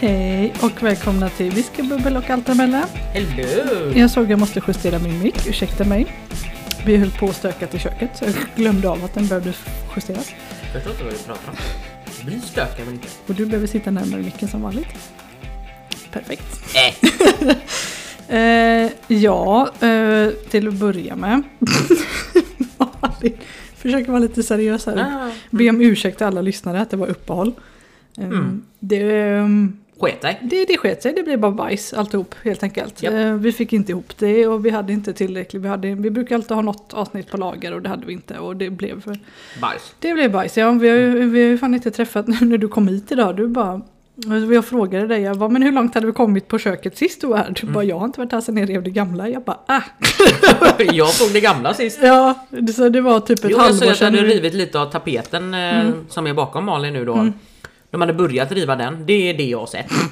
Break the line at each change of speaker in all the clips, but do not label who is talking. Hej och välkomna till Whiskybubbel och allt emellan.
Hello!
Jag såg att jag måste justera min mick, ursäkta mig. Vi höll på och stökat i köket så jag glömde av att den behövde justeras.
Jag förstår inte vad du pratar om. Det blir stökigt men inte.
Och du behöver sitta närmare micken som vanligt. Perfekt.
Äh.
Eh, ja, eh, till att börja med. Malin, Försöker vara lite seriös här.
Ah,
Be om ursäkt till alla lyssnare att det var uppehåll. Eh,
Mm.
Det... ehm,
Sket dig.
Det, det sket sig, det blev bara bajs alltihop helt enkelt.
Japp.
Eh, vi fick inte ihop det och vi hade inte tillräckligt. Vi, hade, vi brukar alltid ha något avsnitt på lager och det hade vi inte och det blev,
Bajs.
det blev bajs. Ja, vi, har ju, vi har ju fan inte träffat nu när du kom hit idag. Du bara, alltså, jag frågade dig, jag bara, men hur långt hade vi kommit på köket sist du var här? Du bara,
Mm.
jag har inte varit här sedan jag rev det gamla. Jag bara, ah!
jag såg det gamla sist.
Ja, det- så det var typ ett
Jo, jag såg
halvår
att du
sedan. Mm.
hade rivit lite av tapeten eh, som är bakom Malin nu då. De hade börjat riva den. Det är det jag har sett.
Så
nu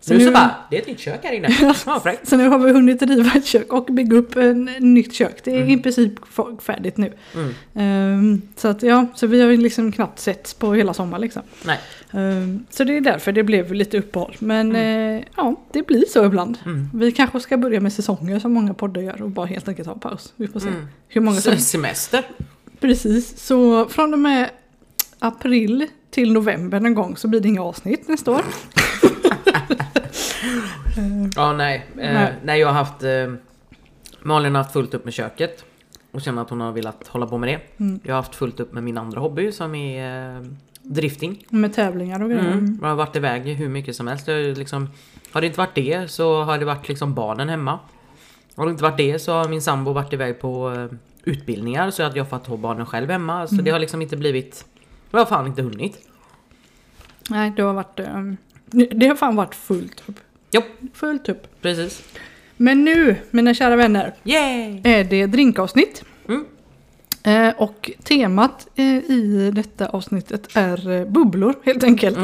så
Mm. nu-
bara, det är ett nytt kök här inne. Ja, fräckt.
Så nu har vi hunnit riva ett kök och bygga upp en ett nytt kök. Det är i princip f- färdigt nu.
Mm.
Ehm, så att ja, så vi har ju liksom knappt setts på hela sommaren liksom.
Nej,
Ehm, så det är därför det blev lite uppehåll. Men eh, ja, det blir så ibland.
Mm.
Vi kanske ska börja med säsonger som många poddar gör och bara helt enkelt ha en paus. Vi får se
Mm.
hur många som...
Se- semester.
Precis, så från och med april till november någon gång så blir det inga avsnitt nästa år.
Ja, nej. Eh,
Mm. Nej.
nej. jag har haft... Eh, Malin har haft fullt upp med köket. Och känner att hon har velat hålla på med det.
Mm.
Jag har haft fullt upp med min andra hobby som är eh, drifting.
Med tävlingar och grejer.
Mm. Man har varit iväg hur mycket som helst. Det är liksom, har det inte varit det så har det varit liksom barnen hemma. Har det inte varit det så har min sambo varit iväg på eh, utbildningar så att jag fått ha barnen själv hemma.
Mm.
Så det har liksom inte blivit... Jag har fan inte hunnit.
Nej, det har varit... ehm, det har fan varit fullt upp.
Jo,
Fullt upp.
precis.
Men nu, mina kära vänner,
Yay!
är det drinkavsnitt.
Mm.
Eh, och temat eh, i detta avsnittet är eh, bubblor helt enkelt.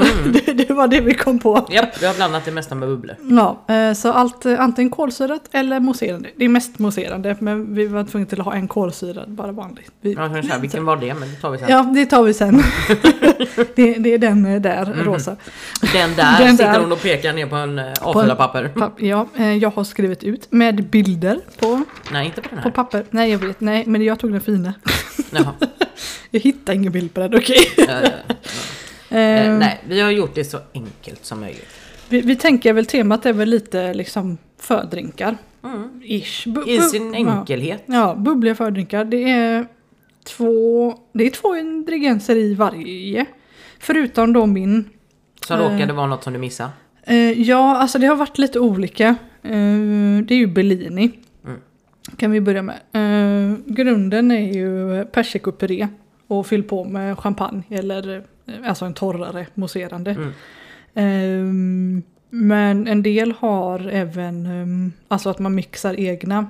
det, det var det vi kom på.
Japp, vi har blandat det mesta med bubblor.
Ja, eh, så allt, eh, antingen kolsyrat eller mousserande. Det är mest mousserande men vi var tvungna till att ha en kolsyrad, bara vanlig. Vi,
Jag kan säga, vilken var det? Men det tar vi sen.
ja, det tar vi sen. det, det är den eh, där, rosa.
Den där
Den
sitter
där.
hon och pekar ner på en eh,
På en-
A4-papper.
Papp- Ja, eh, jag har skrivit ut med bilder på,
Nej, inte på den
på
här.
papper. Nej, jag vet. Nej, men jag tog den fina.
Jaha.
Jag hittar ingen bild på den, okej.
Eh, eh,
Eh,
nej, vi har gjort det så enkelt som möjligt.
Vi, vi tänker väl temat är väl lite liksom fördrinkar.
Mm.
Ish. Bu-
I
bu-
sin enkelhet.
Ja, ja, bubbliga fördrinkar. Det är två, det är två ingredienser i varje. Förutom då min.
Som
Eh.
råkade vara något som du missade.
Eh, ja, alltså det har varit lite olika. Eh, det är ju Bellini.
Mm.
Kan vi börja med. Eh, grunden är ju persikopuré. Och fyll på med champagne eller eh, alltså en torrare mousserande.
Mm.
Ehm, men en del har även, ehm, alltså att man mixar egna,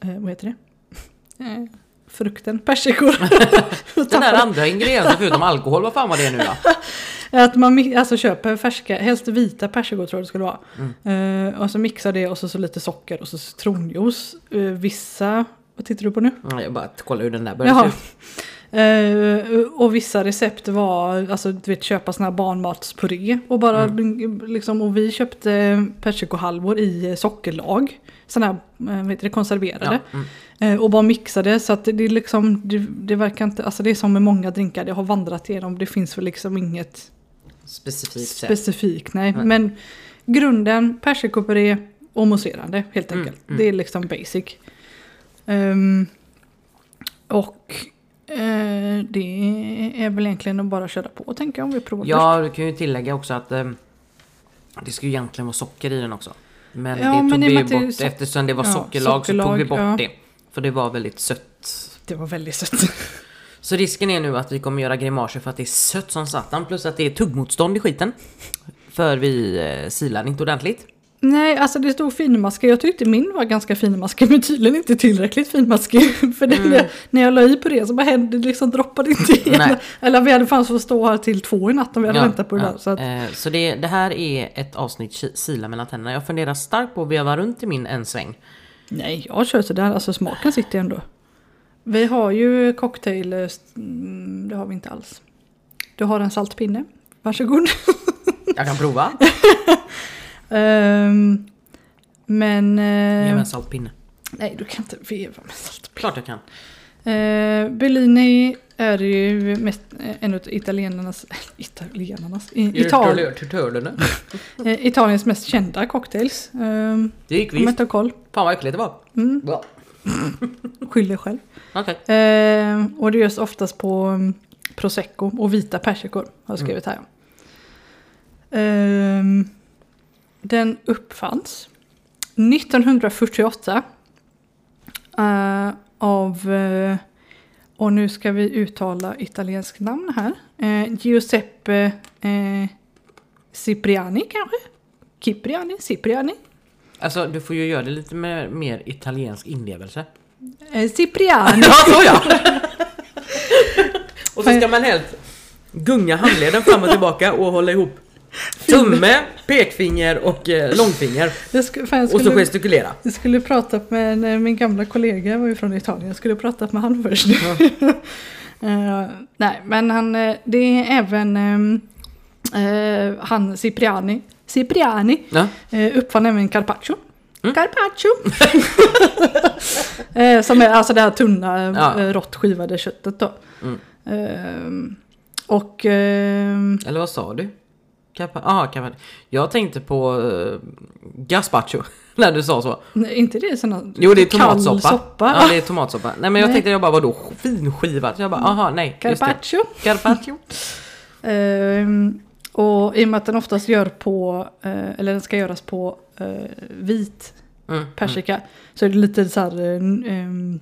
eh, vad heter det? Eh, frukten, persikor. Och
Den där
tappar-
andra ingrediensen förutom alkohol, vad fan var det nu då?
att man mi- alltså köper färska, helst vita persikor tror jag det skulle vara. Eh, och så mixar det och så, så lite socker och så citronjuice. Eh, vissa, vad tittar du på nu?
Ja, Mm, Jag bara kollar hur den där började se
Jaha.
ut.
Eh, och vissa recept var, alltså du vet köpa sån här barnmatspuré och bara liksom, och vi köpte persikohalvor i eh, sockerlag. Sådana här, eh, vad heter det, konserverade.
Ja, mm.
Eh, och bara mixade så att det, det är liksom, det, det verkar inte, alltså det är som med många drinkar, det har vandrat igenom, det finns väl liksom inget
Specifikt sätt.
specifikt, nej.
Nej.
Men grunden, persikopuré och mousserande helt
Mm,
enkelt.
mm.
Det är liksom basic. Ehm, och eh, det är väl egentligen att bara köra på och tänka om vi provar
Ja, du kan ju tillägga också att eh, det ska ju egentligen vara socker i den också. Men
Ja,
det tog
men i och med
vi ju
att det är
bort
so-
eftersom det var
ja,
sockerlag, så tog vi
sockerlag,
bort
ja.
det. För det var väldigt sött.
först. Det var väldigt sött.
Så risken är nu att vi kommer göra grimaser för att det är sött som satan plus att det är tuggmotstånd i skiten. För vi eh, silar inte ordentligt.
nej, alltså det stod finmaskig. Jag tyckte min var ganska finmaskig men tydligen inte tillräckligt finmaskig. För det, när jag la i på det så bara hände det liksom droppade inte igen.
Mm. Nej.
Eller vi hade fan fått stå här till två i natt om vi hade väntat på det
ja.
där. Så att,
Eh, så det, det här är ett avsnitt ki- sila mellan tänderna. Jag funderar starkt på att veva runt i min en sväng.
Nej, jag kör sådär. Alltså smaken sitter ju ändå. Vi har ju cocktail... eh, st- mm, Det har vi inte alls. Du har en saltpinne. Varsågod.
Jag kan prova.
Ehm, men... eh,
Ge mig en saltpinne.
nej, du kan inte veva med salt.
Klart jag kan.
Eh, Bellini är ju mest, eh, en av italienarnas... Italienarnas? I, Ital,
Turtulorna.
eh, Italiens mest kända cocktails. Um,
Det gick
om jag
visst.
inte har koll.
Fan vad äckligt det var.
Mm,
Bra.
skyll dig själv.
Okej.
Eh, och det görs oftast på mm, prosecco och vita persikor. Har
Mm.
jag skrivit här. Ehm, den uppfanns 1948. eh, av, eh, och nu ska vi uttala italiensk namn här. Eh, Giuseppe eh, Cipriani kanske? Cipriani? Cipriani?
Alltså du får ju göra det lite med mer italiensk inlevelse.
Eh, Cipriani!
Ja, så ja! och så ska man helt gunga handleden fram och tillbaka och hålla ihop tumme, pekfinger och eh, långfinger.
Det sk- fan, jag
Och så
skulle-
gestikulera.
Jag skulle prata med en, min gamla kollega, var ju från Italien, jag skulle prata med han först. Eh, nej, men han, eh, det är även eh, eh, han Cipriani, Cipriani
Ja.
uh, uppfann även carpaccio.
Mm.
Carpaccio! Eh, som är alltså det här tunna,
Ja.
ja. rått skivade köttet då.
Mm.
Eh, och ehm,
Eller vad sa du? Capa- ah, capa- jag tänkte på uh, gazpacho när du sa så.
nej, inte det är sån
Jo det är tomatsoppa.
Kall soppa.
Ja det är tomatsoppa. Nej men jag
Nej.
tänkte jag bara vadå finskivat? Jag bara aha nej. just det.
Carpaccio.
Carpaccio.
Ehm, och i och med att den oftast gör på, eh, eller den ska göras på eh, vit
Mm.
persika, så är det lite så här eh, n- ehm,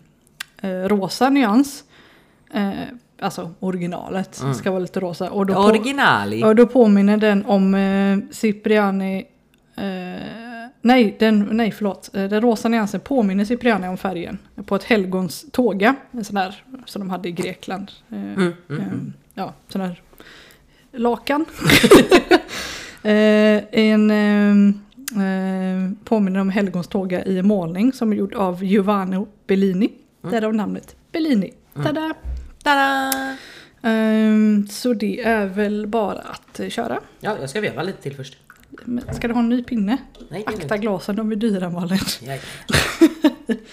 eh, rosa nyans. Eh, alltså originalet
Mm.
ska vara lite rosa. Och då, på,
Originali.
och då påminner den om eh, Cipriani eh, nej, den, nej, förlåt. Eh, Den rosa nyansen påminner Cipriani om färgen på ett helgons tåga. En sån där som de hade i Grekland. Eh,
Mm, mm, mm.
Ehm, ja, sån här lakan. Eh, en ehm, ehm, påminner om helgonståga i en målning som är gjord av Giovanni Bellini. Därav namnet Bellini. Tada!
Tada!
Ehm, så det är väl bara att eh, köra.
Ja, jag ska veva lite till först.
Men Ska du ha en ny pinne?
Nej, det är
Akta glasen, de är dyra Malin.
lugnt. Jag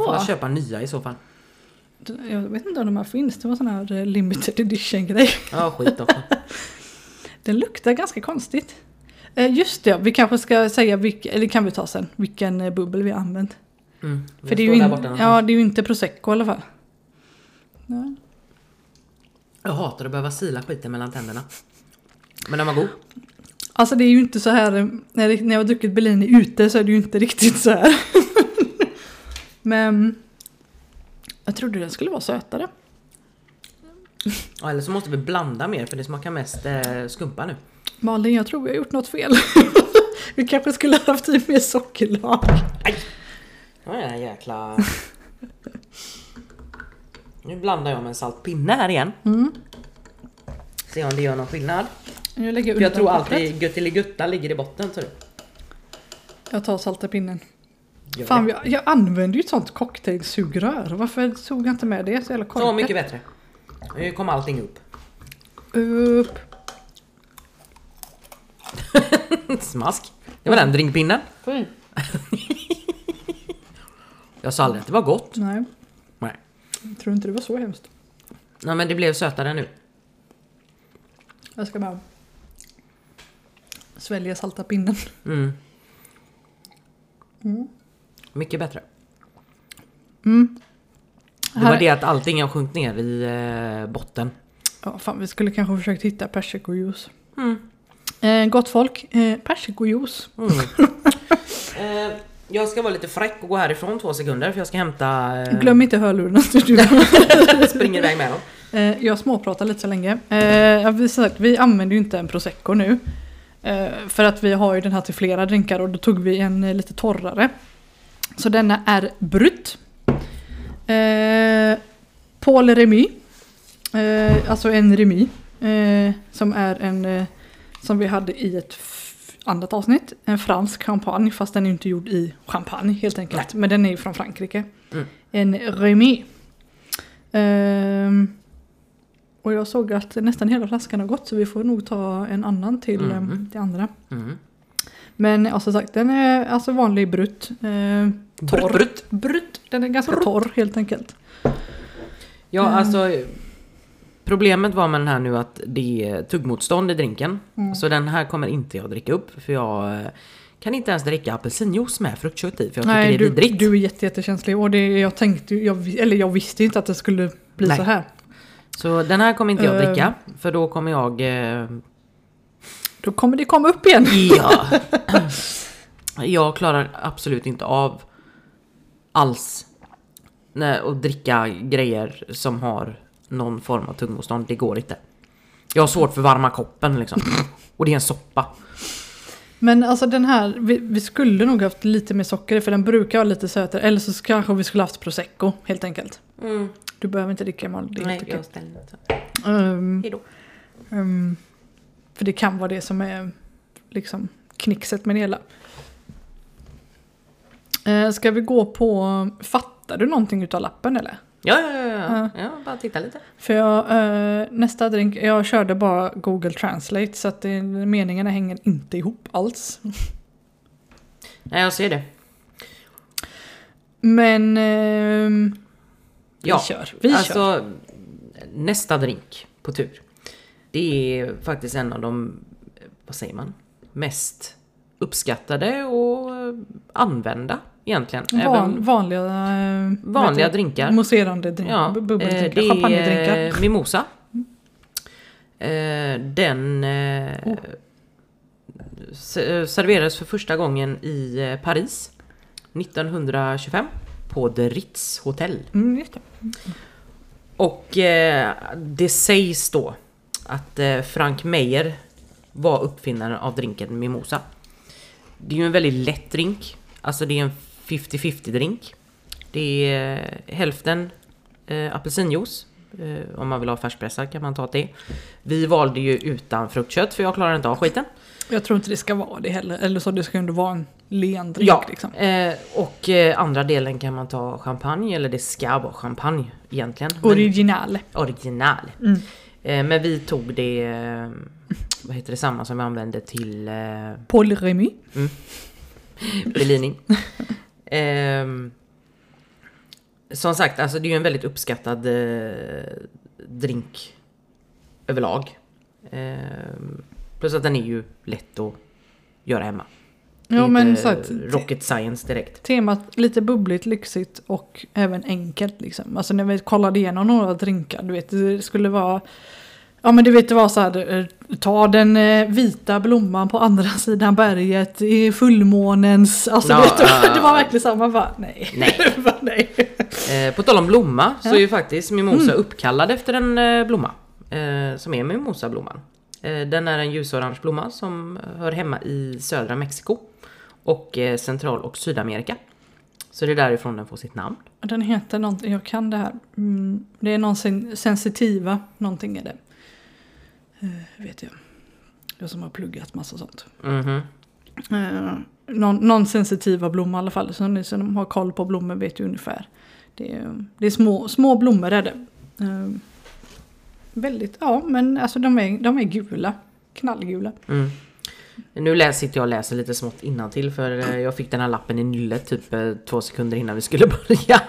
får
Ja.
väl köpa nya i så fall.
Jag vet inte om de här finns, det var sån här eh, limited edition grej.
Ja, skit också.
Den luktar ganska konstigt. Eh, just det, vi kanske ska säga vilken, eller kan vi ta sen, vilken eh, bubbel vi har använt.
Mm. Den
För det är, ju
står där
in,
borta någonstans.
ja, det är ju inte prosecco i alla fall. Ja.
Jag hatar att behöva sila skiten mellan tänderna. Men den var god.
Alltså det är ju inte så här, eh, när, det- när jag har druckit Bellini ute så är det ju inte riktigt så här. Men jag trodde den skulle vara sötare.
Ja, eller så måste vi blanda mer för det smakar mest eh, skumpa nu.
Malin, jag tror vi har gjort något fel. vi kanske skulle ha haft i mer sockerlag.
Ja, den här jäkla... Nu blandar jag med en saltpinne här igen.
Mm.
Se om det gör någon skillnad.
Nu lägger
För jag
undan
tror
pappret.
alltid göttiligutta ligger i botten. Tror du.
Jag tar salta pinnen.
Gör det.
Fan, jag, jag använder ju ett sånt cocktailsugrör. Varför tog jag inte med det? Så jävla
Så
korkat.
mycket bättre. Nu kom allting upp.
Upp.
Smask. Det var den drinkpinnen. Jag sa aldrig att det var gott.
Nej,
Nej.
jag tror inte det var så hemskt.
Nej men det blev sötare nu.
Jag ska bara svälja salta pinnen.
Mm.
Mm.
Mycket bättre. Det var
Här-
det att allting har sjunkit ner i eh, botten.
Ja, fan, vi skulle kanske försökt hitta persikojuice.
Mm.
Eh, gott folk, eh, persikojuice.
Mm. eh, jag ska vara lite fräck och gå härifrån två sekunder för jag ska hämta... Eh,
Glöm inte hörlurarna. så du-
springer iväg med dem.
Eh, jag småpratar lite så länge. Eh, jag vill säga att vi använder ju inte en prosecco nu. Eh, för att vi har ju den här till flera drinkar och då tog vi en eh, lite torrare. Så denna är Brut. Eh, Paul Remy. Eh, alltså en Remy. Eh, som är en eh, som vi hade i ett f- annat avsnitt. En fransk champagne fast den är inte gjord i champagne helt enkelt. Men den är ju från Frankrike.
Mm.
En Remy. Ehm, Och jag såg att nästan hela flaskan har gått så vi får nog ta en annan till
Mhm.
eh, det andra.
Mm.
Men ja, som sagt, den är alltså vanlig brut. Eh, torr.
Brutt, brutt.
Brut, Den är ganska torr helt enkelt.
Ja,
Mm.
alltså Problemet var med den här nu att det är tuggmotstånd i drinken.
Mm. Alltså,
Så den här kommer inte jag dricka upp för jag eh, kan inte ens dricka apelsinjuice med fruktkött i för jag tycker det är
du,
vidrigt.
du är jätte, jättekänslig och det, jag tänkte ju- jag, vi- eller jag visste inte att det skulle bli
Nej.
så här.
Så den här kommer inte jag
Eh.
dricka för då kommer jag... eh,
Då kommer det komma upp igen.
Ja! jag klarar absolut inte av alls nej, att dricka grejer som har någon form av tuggmotstånd. Det går inte. Jag har svårt för varma koppen liksom. Och det är en soppa.
Men alltså den här, vi, vi skulle nog haft lite mer socker i, för den brukar vara lite sötare. Eller så kanske vi skulle haft prosecco helt enkelt. Du behöver inte dricka Emal, det är helt okej.
Mm. ställer inte.
Ehm,
Hejdå.
ehm, För det kan vara det som är liksom knixet med det hela. Eh, Ska vi gå på, fattar du någonting utav lappen eller?
Ja, ja, ja, ja.
Ja.
ja. Bara titta lite.
För jag, eh, nästa drink, jag körde bara Google Translate så att det, meningarna hänger inte ihop alls.
Nej, jag ser det.
Men ehm, vi
Ja,
kör. Vi kör.
alltså, nästa drink på tur. Det är faktiskt en av de, eh, vad säger man, mest uppskattade och eh, använda egentligen.
Van,
Även
vanliga eh, vad
vanliga
heter det?
drinkar.
mousserande drinkar,
Ja,
bu-
eh,
bubbeldrinkar,
det
champagnedrinkar.
är eh, mimosa. Eh, Den eh,
Oh.
se- eh, serverades för första gången i eh, Paris 1925 på The Ritz hotell.
Mm, just det.
Och eh, det sägs då att eh, Frank Meyer var uppfinnaren av drinken Mimosa. Det är ju en väldigt lätt drink. Alltså det är en 50-50 drink. Det är eh, hälften eh, apelsinjuice. Eh, om man vill ha färskpressad kan man ta det. Vi valde ju utan fruktkött för jag klarar inte av skiten.
Jag tror inte det ska vara det heller. Eller så det ska ju ändå vara en len drink.
Ja,
Liksom.
eh, och eh, andra delen kan man ta champagne, eller det ska vara champagne egentligen. Men-
Original.
original.
Mm.
Eh, men vi tog det, eh, vad heter det, samma som vi använde till eh,
Paul Remy.
belining. Ehm, som sagt, alltså det är ju en väldigt uppskattad eh, drink överlag. Ehm, plus att den är ju lätt att göra hemma. Det är
Ja men
inte
så att,
rocket science direkt.
Temat lite bubbligt, lyxigt och även enkelt liksom. Alltså när vi kollade igenom några drinkar, du vet, det skulle vara... Ja men du vet det var så här, eh, ta den eh, vita blomman på andra sidan berget i fullmånens... Alltså
Ja,
du vet, det var-
ja,
det var
ja.
verkligen så här, man bara nej.
Nej.
bara, nej.
Eh, på tal om blomma så är
Ja.
ju faktiskt mimosa uppkallad efter en eh, blomma. Eh, som är mimosablomman. Eh, den är en ljusorange blomma som hör hemma i södra Mexiko. Och eh, central och sydamerika. Så det är därifrån den får sitt namn.
Den heter någonting, jag kan det här. Mm, det är någon sen- sensitiva, någonting är det. Eh, vet jag. Jag som har pluggat massa sånt.
Mhm.
Eh, någon, någon sensitiva blomma i alla fall. Så ni som har koll på blommor vet ju ungefär. Det är, det är små, små blommor är det. Eh, väldigt, ja men alltså de är, de är gula. Knallgula.
Mm. Nu läs, sitter jag och läser lite smått innantill för eh, jag fick den här lappen i nyllet typ eh, två sekunder innan vi skulle börja.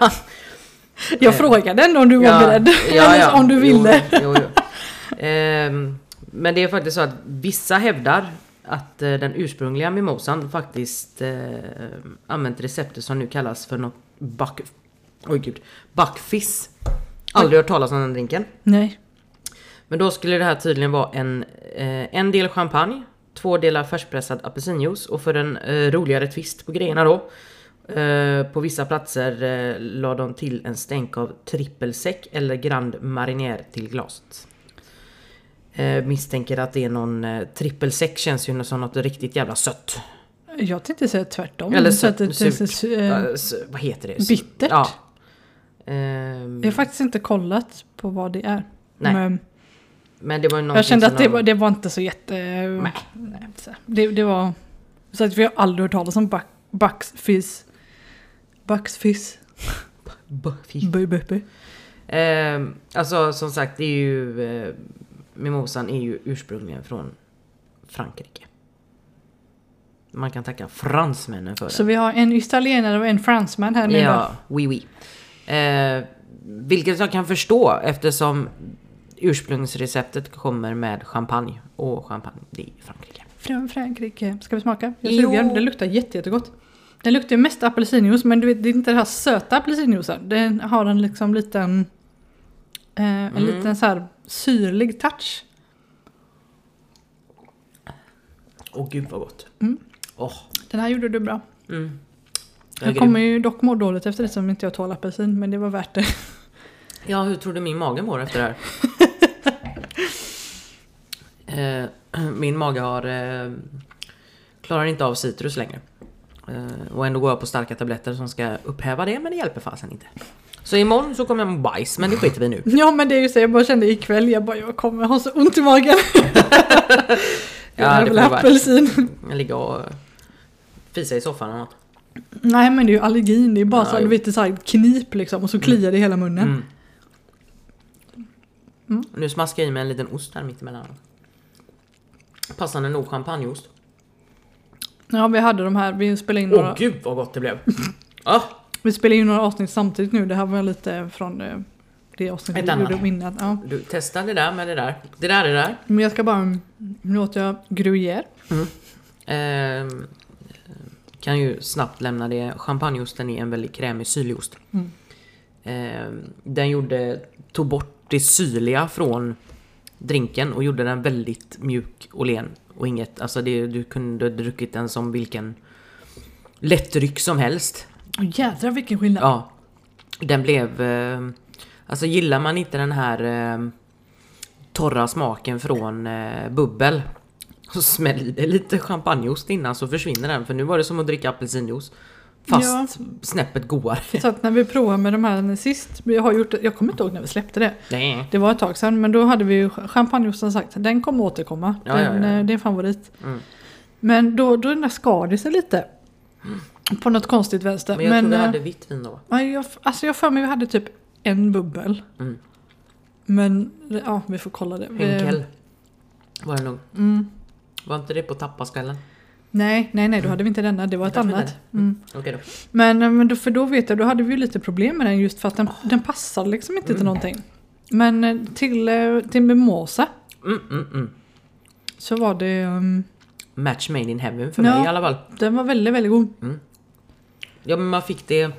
Jag
Eh,
frågade ändå om du var beredd. Eller om du ville.
Jo, jo, jo. Ehm, men det är faktiskt så att vissa hävdar att eh, den ursprungliga mimosan faktiskt eh, använt receptet som nu kallas för något buck... Oj gud. Buckfiss. Aldrig hört talas om den drinken.
Nej.
Men då skulle det här tydligen vara en, eh, en del champagne, två delar färskpressad apelsinjuice och för en eh, roligare twist på grejerna då. Eh, på vissa platser eh, la de till en stänk av trippelsäck eller Grand Marinier till glaset. Eh, misstänker att det är någon eh, trippelsäck känns ju som något riktigt jävla sött.
Jag tänkte säga tvärtom.
Eller
så att
sött,
det,
surt.
det, eh,
Eh, s- vad heter det?
bittert.
Ja. Ehm,
jag har faktiskt inte kollat på vad det är.
Nej,
men
men det var ju
jag
någonting
kände
som
att det
de-
var, det var inte så jätte... Nej. Det, det var... Så att vi har aldrig hört talas om buck- bucksfizz. Bucksfizz.
Buckfish.
Bö, bö, bö.
Eh, alltså som sagt, det är ju... Eh, mimosan är ju ursprungligen från Frankrike. Man kan tacka fransmännen för det.
Så vi har en italienare och en fransman här nu
Ja,
då.
oui oui. Eh, vilket jag kan förstå eftersom ursprungsreceptet kommer med champagne. Och champagne, det är Frankrike.
Från Frankrike. Ska vi smaka? Jag är
Jo.
sugen. Den luktar jätte, jättegott. Den luktar ju mest apelsinjuice men du vet, det är inte den här söta apelsinjuicen. Den har en liksom liten... Eh, en
Mm.
liten så här syrlig touch.
Åh gud vad gott.
Mm.
Åh.
Den här gjorde du bra.
Mm. Jag är
Jag
grym.
kommer ju dock må dåligt efter det som inte jag tål apelsin men det var värt det.
Ja, hur tror du min mage mår efter det här? eh, min mage har... Eh, klarar inte av citrus längre. Eh, och ändå går jag på starka tabletter som ska upphäva det, men det hjälper fasen inte. Så imorgon så kommer jag må bajs, men det skiter vi nu.
Ja men det är ju så, jag bara kände ikväll, jag bara jag kommer ha så ont i magen.
Ja,
jag
det
hade
får
väl
det vara.
apelsin.
Jag ligger och eh, fisa i soffan eller något.
Nej men det är ju allergin, det är bara
Ja,
så här,
jo.
du vet, det är så här knip liksom och så kliar det i hela munnen.
Mm. Nu smaskar jag i mig en liten ost här mittemellan. Passande nog champagneost.
Ja vi hade de här, vi spelade in
Åh
några,
gud vad gott det blev! ah,
vi spelade in några avsnitt samtidigt nu, det här var lite från eh, det avsnittet
Ett
vi
annat.
gjorde om innan. Ja.
du testar det där med det där. Det där är det där.
Men jag ska bara, mm, nu åt jag gruyère.
Ehm, kan ju snabbt lämna det. Champagneosten är en väldigt krämig syrlig ost.
Mm.
Ehm, den gjorde, tog bort det syrliga från drinken och gjorde den väldigt mjuk och len. Och inget, alltså det, du kunde druckit den som vilken lättdryck som helst.
Åh jädrar vilken skillnad.
Ja. Den blev... Eh, alltså gillar man inte den här eh, torra smaken från eh, bubbel så smäll i dig lite champagneost innan så försvinner den för nu var det som att dricka apelsinjuice. Fast snäppet godare.
Så att när vi provade med de här sist, vi har gjort, det- jag kommer inte ihåg när vi släppte det.
Nej.
Det var ett tag sedan men då hade vi ju champagneost som sagt, den kommer återkomma.
Ja,
den,
ja, ja.
eh, Det är en favorit.
Mm.
Men då, då den där skar det sig lite. På något konstigt vänster.
Men jag tror vi
eh,
hade vitt vin då.
ja, jag, alltså jag för mig vi hade typ en bubbel.
Mm.
Men ja, vi får kolla det. Vi-
Henkel. Var det nog.
Mm.
Var inte det på tappaskvällen?
Nej, nej,
Mm.
nej, då hade vi inte denna. Det var ett
Varför
annat.
inte?
Mm.
Okej då.
Men, eh, men då, för då vet jag, då hade vi ju lite problem med den just för att den, den passar liksom inte
Mm.
till någonting. Men eh, till, eh, till mimosa
Mm, mm, mm.
så var det, ehm,
Match made in heaven för
Ja.
mig i alla fall.
den var väldigt, väldigt god.
Ja men man fick det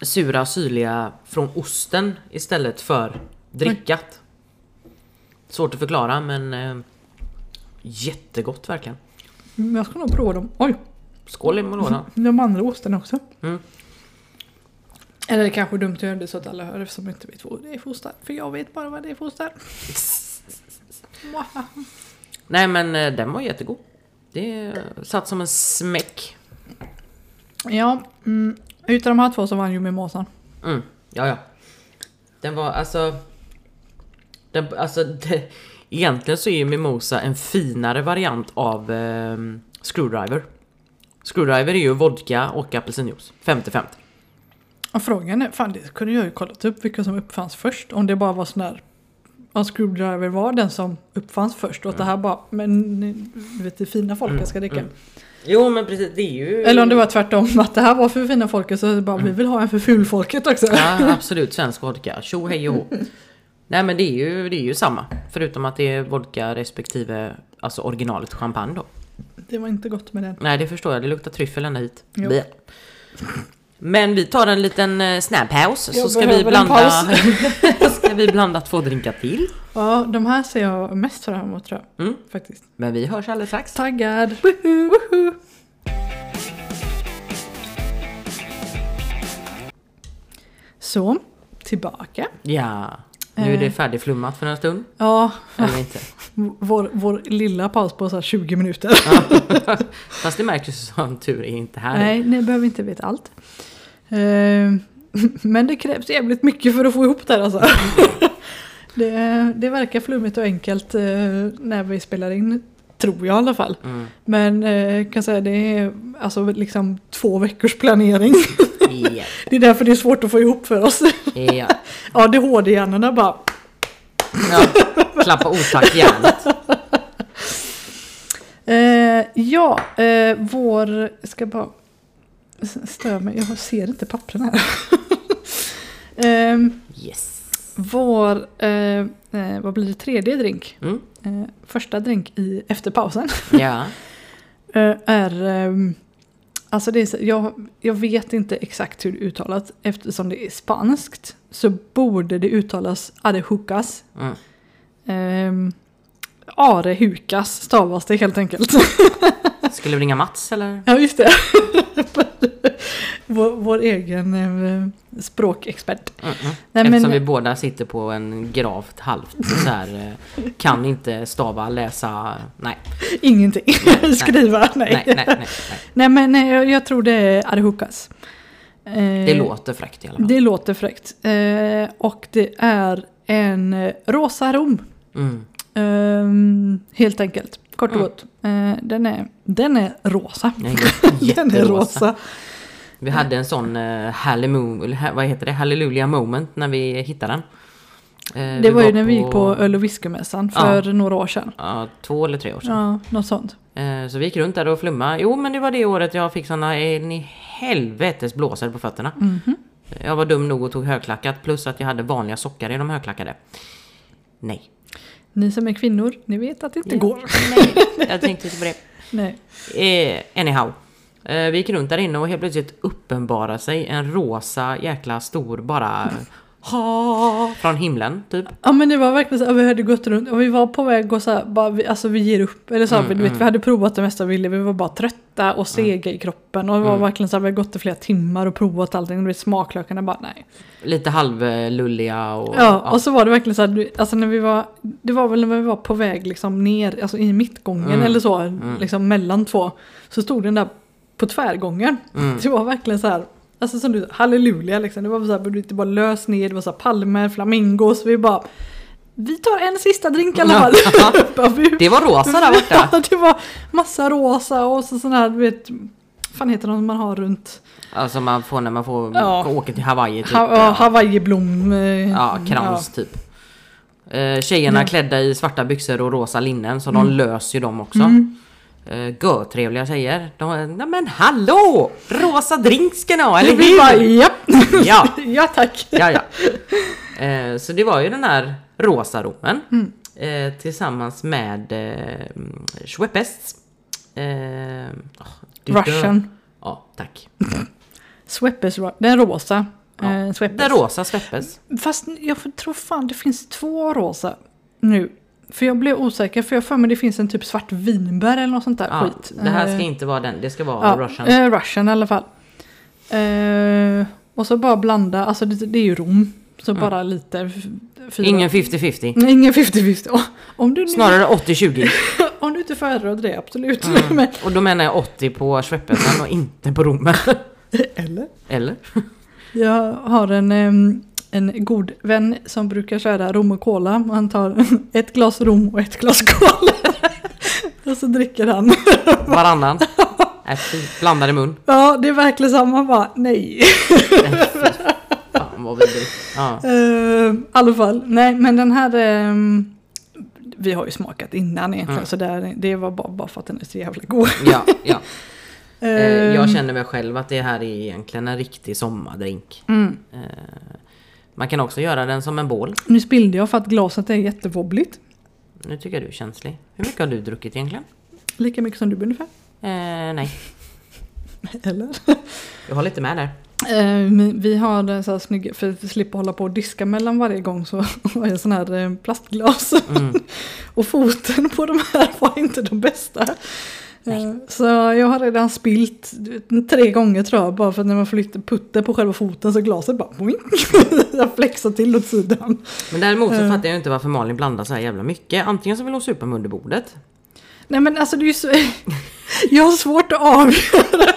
sura syrliga från osten istället för drickat. Svårt att förklara men eh, jättegott verkligen.
Men
Mm.
jag ska nog prova dem. Oj,
Skål i Morodan.
de andra ostarna också.
Mm.
Eller det är kanske är dumt att göra det så att alla hör eftersom jag inte vet vad det är för ostar. För jag vet bara vad det är för ostar. Mwaha.
Nej men eh, den var jättegod. Det eh, satt som en smäck.
Ja, mm, utan de här två så vann ju mimosan.
Mm, ja ja. Den var alltså... Den, alltså det, egentligen så är ju mimosa en finare variant av eh, screwdriver. Screwdriver är ju vodka och apelsinjuice. 50-50.
Och frågan är, fan det kunde jag ju kollat upp vilka som uppfanns först. Om det bara var sån där, om screwdriver var den som uppfanns först och att det här bara, men du vet det fina folket ska dricka.
Jo men precis, det är ju...
Eller om det var tvärtom, att det här var för fina folket så bara vi vill ha en för fulfolket också.
Ja absolut, svensk vodka. Tjo hej och hå. Nej men det är, ju, det är ju samma. Förutom att det är vodka respektive alltså originalet champagne då.
Det var inte gott med den.
Nej det förstår jag, det luktar tryffel ända hit.
Jo.
Blä. Men vi tar en liten eh, snabbpaus så
Jag
ska vi
behöver en
blanda... ska vi blanda två drinkar till.
Ja, de här ser jag mest fram emot tror jag.
Mm.
Faktiskt.
Men vi hörs alldeles strax.
Taggad! Woho! Woho! Så, tillbaka.
Ja, nu är det färdigflummat för en stund.
Eh. Ja,
Eller inte.
vår, vår lilla paus på så här 20 minuter.
Fast det märks ju som tur är inte här.
Nej, ni behöver inte veta allt. Ehm, Men det krävs jävligt mycket för att få ihop det här alltså. Det, det verkar flummigt och enkelt eh, när vi spelar in, tror jag i alla fall.
Mm.
Men eh, jag kan säga det är alltså liksom två veckors planering.
Ja,
Det är därför det är svårt att få ihop för oss.
ja.
ADHD-hjärnorna bara...
ja. Klappa otackjärnet.
Eh, ja, eh, vår... Jag ska bara... s- Stör mig, jag ser inte pappren här. Ehm,
Yes.
vår... Eh, eh, vad blir det? Tredje drink.
Mm.
Eh, första drink i efterpausen.
Ja.
eh, är... ehm, alltså det är, så- jag, jag vet inte exakt hur det uttalas eftersom det är spanskt. Så borde det uttalas adejucas.
Mm.
Ehm, arehukas stavas det helt enkelt.
Skulle vi ringa Mats eller? Mm,
Ja, just det. vår, vår egen eh, språkexpert.
Mm, mm.
Nej, men-
Eftersom vi båda sitter på en gravt halvt så här, eh, kan inte stava, läsa, nej,
Ingenting. Skriva, nej.
nej, nej, nej. nej.
Nej, men nej, jag, jag tror det är Arehukas. Eh,
Det låter fräckt i alla fall.
Det låter fräckt. Eh, och det är en eh, rosa rom.
Mm.
Ehm, helt enkelt. Kort och
Mm.
gott. Eh, den, är, den är rosa.
Ja, jä-
Den är
Jätterosa.
rosa.
Vi hade en sån uh, hallelujah, vad heter det? hallelujah moment när vi hittade den. Eh,
Det var ju
var
när vi gick på öl och whiskymässan för några år sedan.
Ja, två eller tre år sedan.
Ja, något sånt.
Eh, Så vi gick runt där och flumma. Jo men det var det året jag fick såna en i helvetes blåsor på fötterna.
Mm.
Jag var dum nog och tog högklackat plus att jag hade vanliga sockar i de högklackade. Nej.
Ni som är kvinnor, ni vet att det inte går.
Nej, jag tänkte inte på det.
Nej.
Eh, anyhow. Eh, vi gick runt där inne och helt plötsligt uppenbarade sig en rosa jäkla stor bara... Ha, från himlen typ.
Ja men det var verkligen så här, vi hade gått runt och vi var på väg och så här, bara, vi, alltså vi ger upp. Eller så här, du vet, vi hade provat det mesta vi ville, vi var bara trötta och sega i kroppen. Och det var verkligen så här, vi hade gått i flera timmar och provat allting. Och du vet, smaklökarna bara nej.
Lite halvlulliga och...
Ja, och så var det verkligen så här, du- alltså när vi var, det var väl när vi var på väg liksom ner, alltså i mittgången
Mm.
eller så, liksom mellan två. Så stod den där på tvärgången.
Mm.
Det var verkligen så här, alltså som du sa, halleluja liksom. Det var så här, du vet, det bara lös ner, det var så här palmer, flamingos, vi bara vi tar en sista drink i alla fall. Bara, vi-
Det var rosa där borta.
Ja, det var massa rosa och så sån här, du vet, fan heter de man har runt?
Alltså man får när man får
Ja.
åka till Hawaii typ.
Ha, ja,
Ja.
Hawaiiblom. eh,
Ja, krans typ. Eh, tjejerna klädda i svarta byxor och rosa linnen så
Mm.
de löser ju dem också. Eh, Görtrevliga tjejer. De, Nej men hallå! Rosa drink ska ni ha, eller
Vi bara,
hur?
ja.
Ja,
ja tack.
ja, ja. Eh, så det var ju den här rosa romen
Mm.
eh, tillsammans med eh, mm, Schweppes. Eh, åh, du dör.
Russian.
Ja, tack.
Sweppes, ro- den rosa.
Ja.
Eh, Sweppes.
Den rosa Schweppes.
Fast jag får- tror fan det finns två rosa nu. För jag blev osäker för jag har för mig det finns en typ svart vinbär eller något sånt där
Ja,
skit.
det här ska
Eh,
inte vara den, det ska vara
Ja,
Russian.
Eh, Russian i alla fall. Eh, och så bara blanda, alltså det, det är ju Rom. Så bara lite... f- fyra-
Ingen 50-50.
Nej, Ingen 50-50. Åh, Om du, nu,
Snarare 80-20.
om du inte föredrar det, absolut. Men,
Mm. Och då menar jag 80 på Schweppesen och inte på Romen.
eller?
Eller?
Jag har en, em, en god vän som brukar köra rom och cola. Han tar ett glas rom och ett glas cola. och så dricker han.
Varannan. Äh, fy, blandad i mun.
Ja, det är verkligen samma bara, nej.
Fan vad vidrigt. Ja.
Ehm, I alla fall, nej men den här... ehm, vi har ju smakat innan egentligen
Mm.
så där, det var bara, bara för att den är så jävla god.
ja, ja. Eh,
Ehm,
Jag känner väl själv att det här är egentligen en riktig sommardrink.
mm.
Eh, Man kan också göra den som en bål.
Nu spillde jag för att glaset är jättevobbligt.
Nu tycker jag du är känslig. Hur mycket har du druckit egentligen?
Lika mycket som du ungefär.
Eh, nej,
Eller?
jag håller inte med där.
Eh, men vi har en sån här snygg, för att slippa hålla på och diska mellan varje gång så var en sån här eh, plastglas.
Mm.
och foten på de här var inte de bästa. Eh, Så jag har redan spilt du vet, tre gånger tror jag, bara för att när man flyttar putter på själva foten så glaset bara boing. Jag flexar till åt sidan.
Men däremot så
Eh.
fattar jag inte varför Malin blandar så här jävla mycket. Antingen så vill hon supa mig under bordet.
Nej men alltså det är ju så... Jag har svårt att avgöra.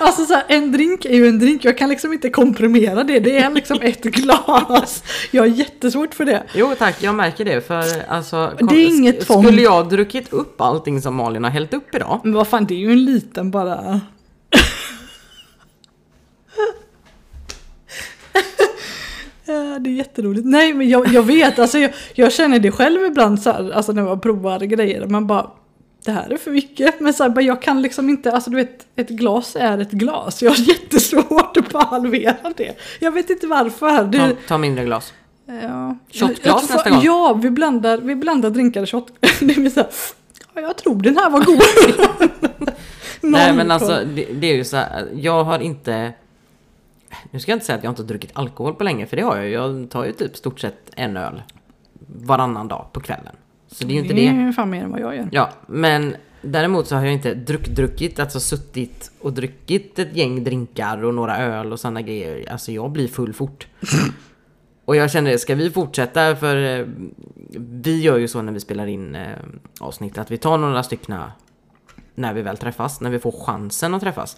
Alltså så här, en drink är ju en drink. Jag kan liksom inte komprimera det. Det är liksom ett glas. Jag har jättesvårt för det.
Jo tack, jag märker det för alltså
Det är inget tvång.
Skulle jag druckit upp allting som Malin har hällt upp idag?
Men vad fan, det är ju en liten bara... det är jätteroligt. Nej men jag, jag vet, alltså jag, jag känner det själv ibland så här, alltså när man provar grejer. Man bara, det här är för mycket. Men så här, bara, jag kan liksom inte, alltså du vet, ett glas är ett glas. Jag har jättesvårt att bara halvera det. Jag vet inte varför. Det,
Ta, ta mindre glas.
Eh, Ja.
Shotglas
Jag tror-
nästa gång.
Ja, vi blandar, vi blandar drinkar och shot. Det blir så här, ja, jag tror den här var god.
Nej
Någon
men
koll.
alltså det, det är ju så här, jag har inte... Nu ska jag inte säga att jag inte har druckit alkohol på länge, för det har jag ju. Jag tar ju typ stort sett en öl varannan dag på kvällen. Så det är ju inte
Det
det.
är ju fan mer än vad jag gör.
Ja, men däremot så har jag inte druck, druckit, alltså suttit och druckit ett gäng drinkar och några öl och sådana grejer. Alltså jag blir full fort. och jag känner, ska vi fortsätta? För eh, vi gör ju så när vi spelar in eh, avsnitt att vi tar några stycken när vi väl träffas, när vi får chansen att träffas.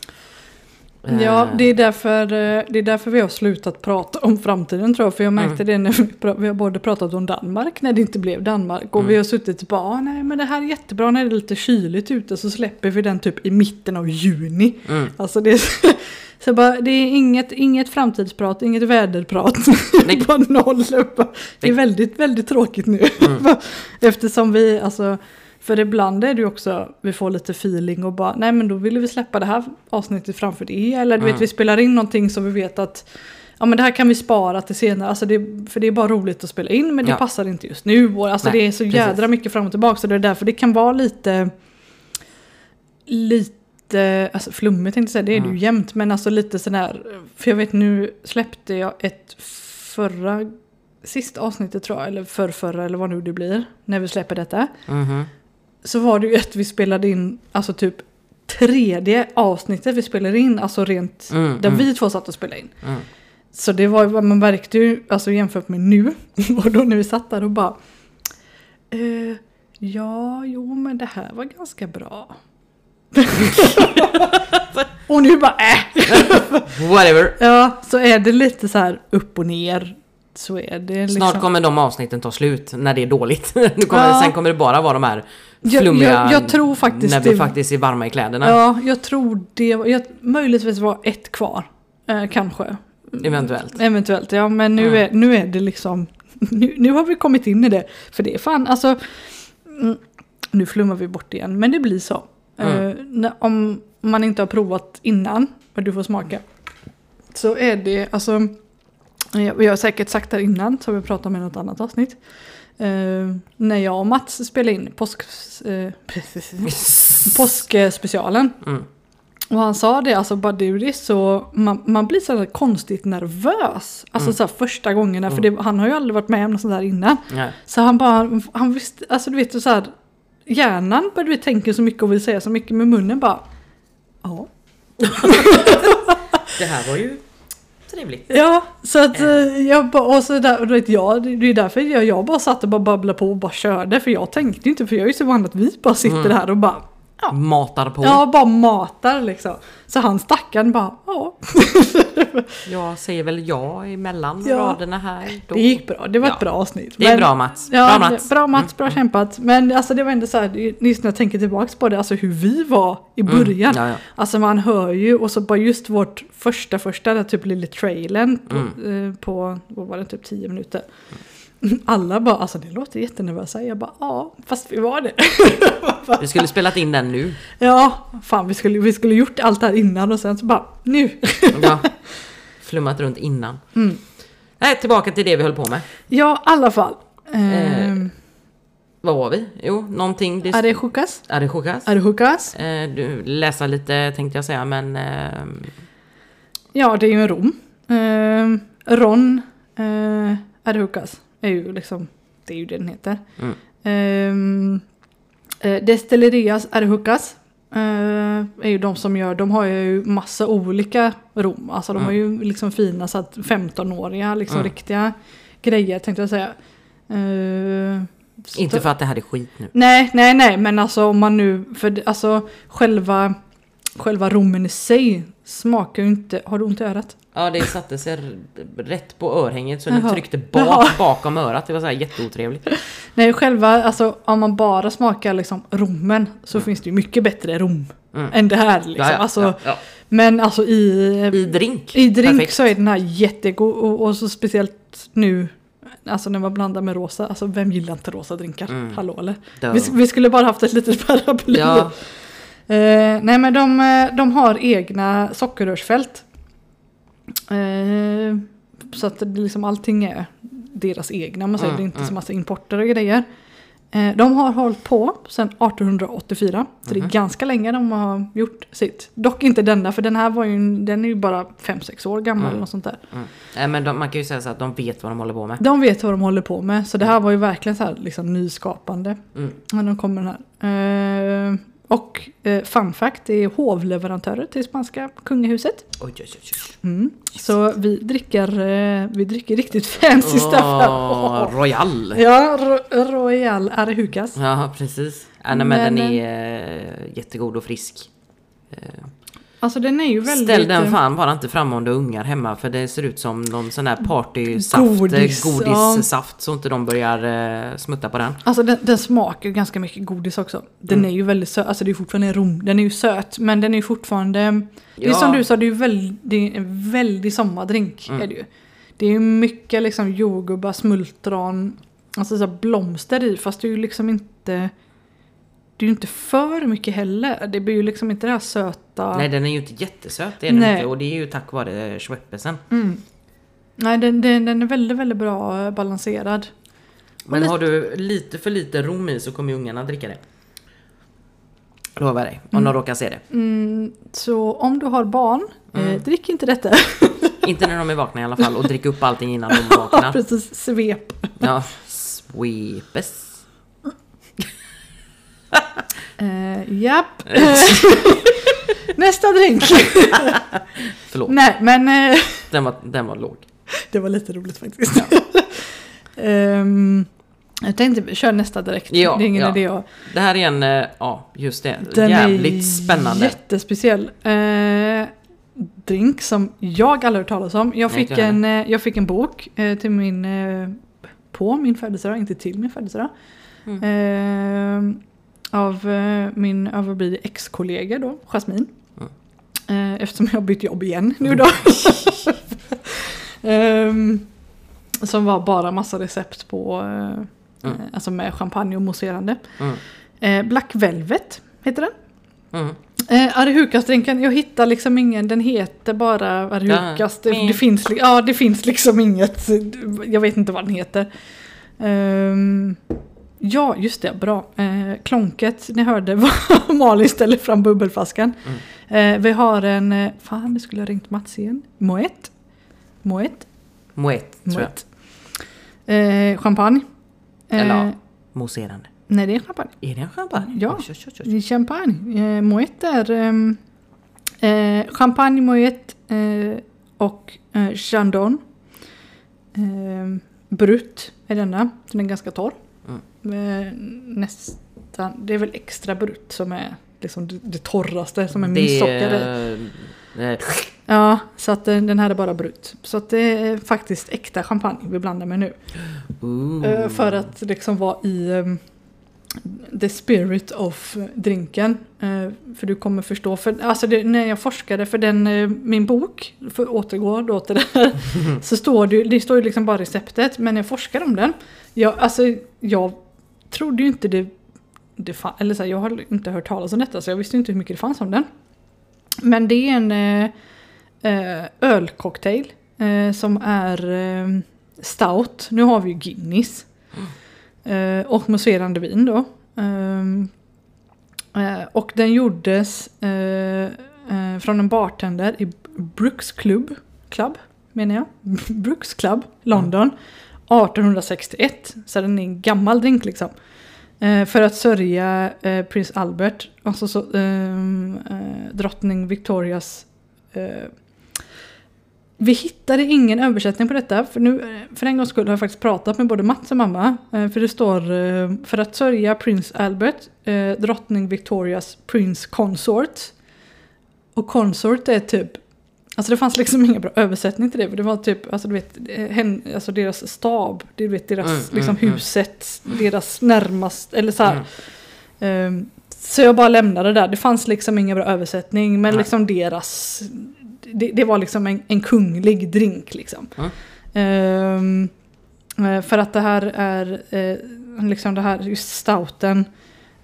Eh,
Ja, det är, därför, eh, det är därför vi har slutat prata om framtiden tror jag. För jag märkte
Mm.
det när vi, pra- vi har både pratat om Danmark när det inte blev Danmark. Och
Mm.
vi har suttit och bara, "Ah, nej men det här är jättebra när det är lite kyligt ute. Så släpper vi den typ i mitten av juni.
Mm.
Alltså det är, så bara, det är inget, inget framtidsprat, inget väderprat.
Nej.
Bara noll. Bara, Det är
Nej.
väldigt, väldigt tråkigt nu.
mm.
Eftersom vi, alltså, för ibland är det ju också, vi får lite feeling och bara, nej men då ville vi släppa det här avsnittet framför det. Eller du
Mm.
vet, vi spelar in någonting som vi vet att, ja men det här kan vi spara till senare. Alltså det, för det är bara roligt att spela in, men det
Ja.
passar inte just nu. Och, alltså
Nej,
det är så
precis.
jädra mycket fram och tillbaka, så det är därför det kan vara lite, lite, alltså flummigt tänkte jag säga, det är det ju jämt, men alltså lite sån här, för jag vet nu släppte jag ett förra, sista avsnittet tror jag, eller förrförra eller vad nu det blir, när vi släpper detta.
mhm.
Så var det ju ett vi spelade in, alltså typ tredje avsnittet vi spelade in, alltså rent
Mm,
där
mm.
vi två satt och spelade in.
Mm.
Så det var ju vad man märkte ju, alltså jämfört med nu, och då när vi satt där och bara eh, Ja, jo men det här var ganska bra. och nu bara äh.
Whatever.
Ja, så är det lite så här upp och ner. Så är det liksom.
Snart kommer de avsnitten ta slut när det är dåligt. Nu kommer,
Ja.
Sen kommer det bara vara de här
Jag-
flummiga
jag- jag tror faktiskt
när vi
det-
faktiskt är varma i kläderna.
Ja, jag tror det var, jag, möjligtvis var ett kvar. Eh, kanske.
Eventuellt.
Eventuellt, ja men nu, är, nu är det liksom, nu, nu har vi kommit in i det. För det är fan, alltså, mm, nu flummar vi bort igen, men det blir så.
Mm.
Eh, när, om man inte har provat innan, och du får smaka, så är det, alltså, jag, jag har säkert sagt det här innan, så har vi pratat om i något annat avsnitt. Eh, när jag och Mats spelade in påsk, eh, påskspecialen,
Mm.
och han sa det, alltså bara du det är så, man, man blir så här konstigt nervös.
Mm.
Alltså så här första gångerna, för det, han har ju aldrig varit med om något sånt där innan.
Nej.
Så han bara, han visste, alltså du vet så här, hjärnan börjar du tänka så mycket och vill säga så mycket, men munnen bara, ja.
Det här var ju trevligt.
Ja, så att eh, jag bara, och så där, och du vet jag, det det är därför jag, jag bara satt och bara babblade på och bara körde, för jag tänkte inte, för jag är ju så van att vi bara
Mm.
sitter här och bara,
Matar på.
ja bara matar liksom. Så han stackaren bara, ja.
Jag säger väl ja emellan
Ja.
raderna här. Då.
Det gick bra, det var ett
Ja.
bra avsnitt.
Det är
Men-
bra Mats.
Ja,
bra Mats. Mm.
bra, Mats, bra kämpat. Men alltså, det var ändå så här, det- just när jag tänker tillbaks på det, alltså hur vi var i början.
Mm, ja, ja.
Alltså man hör ju, och så bara just vårt första, första, där typ lilla trailern på,
Mm.
eh, på vad var det, typ 10 minuter. Alla bara, alltså det låter jättenervösa. Jag bara, ja, fast vi var det.
Vi skulle spelat in den nu.
ja, fan vi skulle, vi skulle gjort allt det här innan och sen så bara, nu. Mm.
Ja. Flummat runt innan. Nej, tillbaka till det vi höll på med.
ja, i alla fall.
Eh,
Ehm,
Vad var vi? Jo, någonting. Det...
är det chokas?
Är det chokas?
Är det chokas?
Eh, du, läsa lite tänkte jag säga men... ehm,
Ja, det är ju en Rom. Ehm, Ron eh, Arhukas är ju liksom, det är ju det den heter.
Mm.
Ehm, eh, Destillerias Arhukas eh, är ju de som gör, de har ju massa olika rom. Alltså de har ju liksom fina så att 15-åriga, liksom
Mm.
riktiga grejer tänkte jag säga. Ehm,
Inte för att det här är skit nu.
Nej, nej, nej, men alltså om man nu, för det- alltså själva, själva rommen i sig smakar ju inte, har du ont i örat?
Ja det satte sig r- rätt på örhänget så den
Jaha.
tryckte bak,
Jaha.
bakom örat. Det var så här jätteotrevligt.
Nej, själva, alltså om man bara smakar liksom rommen så finns det ju mycket bättre rom
Mm.
än det här liksom.
Ja, ja,
alltså,
ja, ja.
Men alltså i,
I drink.
i drink
Perfekt.
så är den här jättegod och, och så speciellt att nu, alltså när man blandar med rosa, alltså vem gillar inte rosa drinkar?
Mm.
Hallå eller?
Duh.
Vi, vi skulle bara haft ett litet paraply.
Ja,
Eh, nej men de, eh, de har egna sockerrörsfält. Eh, så att det blir liksom allting är deras egna, man säger
Mm,
det är inte
mm.
så massa importer och grejer. Eh, de har hållit på sedan 1884, så det
Mhm.
är ganska länge de har gjort sitt. Dock inte denna, för den här var ju, en- den är ju bara 5-6 år gammal
Mm.
och sånt där.
mm. Nej, men de, man kan ju säga så att de vet vad de håller på med.
De vet vad de håller på med, så det här var ju verkligen så här liksom nyskapande.
Mm.
när de kommer den här. Eh, och eh, fun fact, det är hovleverantörer till spanska kungahuset.
Oj, oj, oj, oj.
Mm. Så vi dricker, eh, vi dricker riktigt fancy stuff här.
Åh, Royal!
Ja, Ro- Royal Arejucas.
Ja, precis. Ja, nej, men, den
Men,
är eh, jättegod och frisk. Eh,
Alltså den är ju väldigt...
Ställ den
eh,
fan bara inte fram om du har ungar hemma för det ser ut som någon sån här partysaft,
Godis,
godis,
ja.
godissaft så inte de börjar eh, smutta på den.
Alltså den, den smakar ju ganska mycket godis också. Den
Mm.
är ju väldigt söt, alltså det är ju fortfarande en rom, den är ju söt men den är ju fortfarande... Det är
Ja.
som du sa, det är ju väl, det är en väldig sommardrink.
Mm.
Är det, ju. det är ju mycket liksom jordgubbar, smultron, alltså så här blomster i fast det är ju liksom inte... Det är ju inte för mycket heller. Det blir ju liksom inte det här söta...
Nej den är ju inte jättesöt det är den
Nej.
inte och det är ju tack vare Schweppesen.
Mm. Nej den, den, den är väldigt, väldigt bra eh, balanserad.
Men
lite-
har du lite för lite rom i så kommer ju ungarna dricka det. Lovar dig, om de råkar se det.
Mm, så om du har barn,
Mm.
eh, drick inte detta.
Inte när de är vakna i alla fall och drick upp allting innan de vaknar.
Precis, svep.
Ja, sweepes.
Eh, japp. Nästa drink.
Förlåt,
Nej, men eh,
den var, den var låg.
det var lite roligt faktiskt. Ehm, jag tänkte kör nästa direkt.
Ja,
det är ingen
ja.
idé att...
Det här är en, eh, ja just det,
Den
jävligt
är
spännande.
jättespeciell. Eh, drink som jag aldrig hört talas om. Jag
Nej,
fick,
inte jag
en, eh, jag fick en bok eh, till min, eh, på min födelsedag, inte till min födelsedag.
Mm.
Eh, av eh, min överblivna ex-kollega då, Jasmin.
Mm.
Eh, eftersom jag har bytt jobb igen nu då. Ehm, som var bara massa recept på, eh,
Mm.
alltså med champagne och mousserande.
Mm.
Eh, Black Velvet heter den.
Mm.
Eh, Arehukas-drinken, jag hittar liksom ingen, den heter bara Arehukas. Det,
Ja.
det,
Mm.
finns, li- ja, det finns liksom inget, jag vet inte vad den heter. Ehm, ja, just det, bra. Eh, klonket, ni hörde vad Malin ställer fram bubbelflaskan.
Mm.
Eh, vi har en, eh, fan nu skulle jag ringt Mats igen, Moet. Moet.
Moet, tror jag.
Moet. Eh, champagne. Eh,
Eller ja, mousserande.
Nej, det är champagne.
Är det en champagne?
Ja.
Oj, oj, oj, oj.
Det är Champagne. Eh, Moet är ehm, eh, champagne, Moet eh, och eh, Chandon. Eh, brut är denna. Den är ganska torr. Eh, nästan. Det är väl extra brut som är liksom det, det torraste som är minst socker i.
eh, eh,
Ja, så att eh, den här är bara brut. Så att det är faktiskt äkta champagne vi blandar med nu.
ooh.
Eh, För att liksom vara i ehm, the spirit of drinken. Eh, För du kommer förstå. För, alltså det, när jag forskade för den, eh, min bok, för att återgå då till det här, så står det, ju- det står ju liksom bara receptet. Men när jag forskade om den, jag, alltså, jag trodde ju inte det, det fanns, eller så här, jag har inte hört talas om detta så jag visste ju inte hur mycket det fanns om den. Men det är en eh, eh, ölcocktail eh, som är eh, stout. Nu har vi ju Guinness. Eh, och mousserande vin då. Ehm, eh, och den gjordes eh, eh, från en bartender i Brooks Club, Club menar jag. Brooks Club, London. 1861. Så den är en gammal drink liksom. Eh, för att sörja eh, prins Albert, alltså så, ehm, eh, drottning Victorias... Eh, vi hittade ingen översättning på detta, för, nu, eh, för en gångs skull har jag faktiskt pratat med både Mats och mamma. Eh, för det står eh, “För att sörja prins Albert, eh, drottning Victorias prins consort”. Och consort är typ... Alltså det fanns liksom ingen bra översättning till det, för det var typ, alltså du vet, eh, hen, alltså deras stab, du vet deras
Mm, mm,
liksom
mm.
huset, deras närmaste, eller så här.
Mm.
Ehm, Så jag bara lämnade det där. Det fanns liksom ingen bra översättning men
Nej.
liksom deras... Det, det var liksom en, en kunglig drink liksom.
Mm.
Ehm, eh, för att det här är, eh, liksom det här, just stouten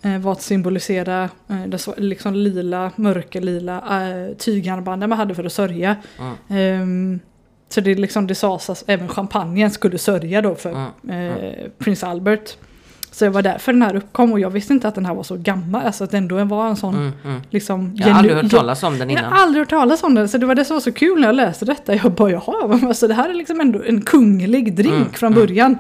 eh, var att symbolisera eh, det sva- liksom lila, mörkerlila eh, tygarmbanden man hade för att sörja.
Mm.
Ehm, så det, är liksom, det sades att även champagnen skulle sörja då för
Mm.
eh, prins Albert. Så det var därför den här uppkom och jag visste inte att den här var så gammal, alltså att det ändå var en sån
Mm, mm.
liksom
Jag har aldrig hört
genu-
talas om den
jag
innan.
har aldrig hört talas om den, så det var det som var så kul när jag läste detta. Jag bara jaha, men alltså det här är liksom ändå en kunglig drink
Mm,
från
mm.
början.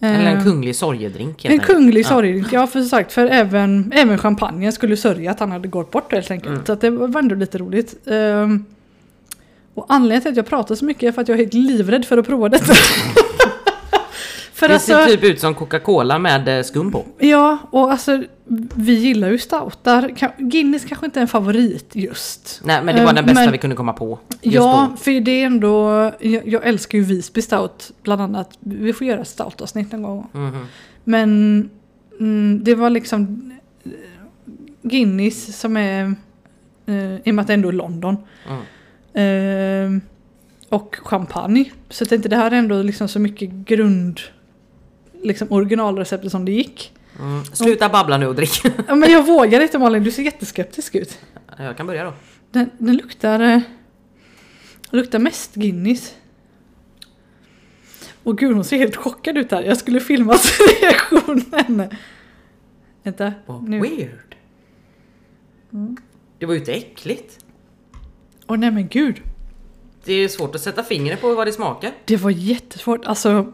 Eller en
Eh,
kunglig sorgedrink helt
en
enkelt.
kunglig
Ja.
sorgdrink, ja för sagt, för även, även champagnen skulle sörja att han hade gått bort helt enkelt.
Mm.
Så att det var ändå lite roligt. Ehm, och anledningen till att jag pratar så mycket är för att jag är helt livrädd för att prova detta. för
Det
alltså,
ser typ ut som Coca-Cola med eh, skum på.
ja och alltså vi gillar ju stoutar. Ka- Guinness kanske inte är en favorit just.
Nej men det var
Eh,
den bästa
men-
vi kunde komma på. Just
Ja,
då.
för det är ändå, jag, jag älskar ju Visby Stout bland annat. Vi får göra ett stoutavsnitt någon gång.
Mhm.
Men mm, det var liksom eh, Guinness som är, eh, i och med att det ändå är London,
Mm.
eh, och champagne. Så jag tänkte det här är ändå liksom så mycket grund, liksom originalreceptet som det gick.
Mm. Sluta babbla nu och drick.
Ja, Men jag vågar inte Malin, du ser jätteskeptisk ut.
Jag kan börja då.
Den, den luktar... eh, luktar mest Guinness. Och gud hon ser helt chockad ut här. Jag skulle filma reaktionen. Vänta.
Vad
Nu. Mm.
Weird. Det var ju inte äckligt.
Åh nej men gud.
Det är svårt att sätta fingret på vad det smakar.
Det var jättesvårt. Alltså.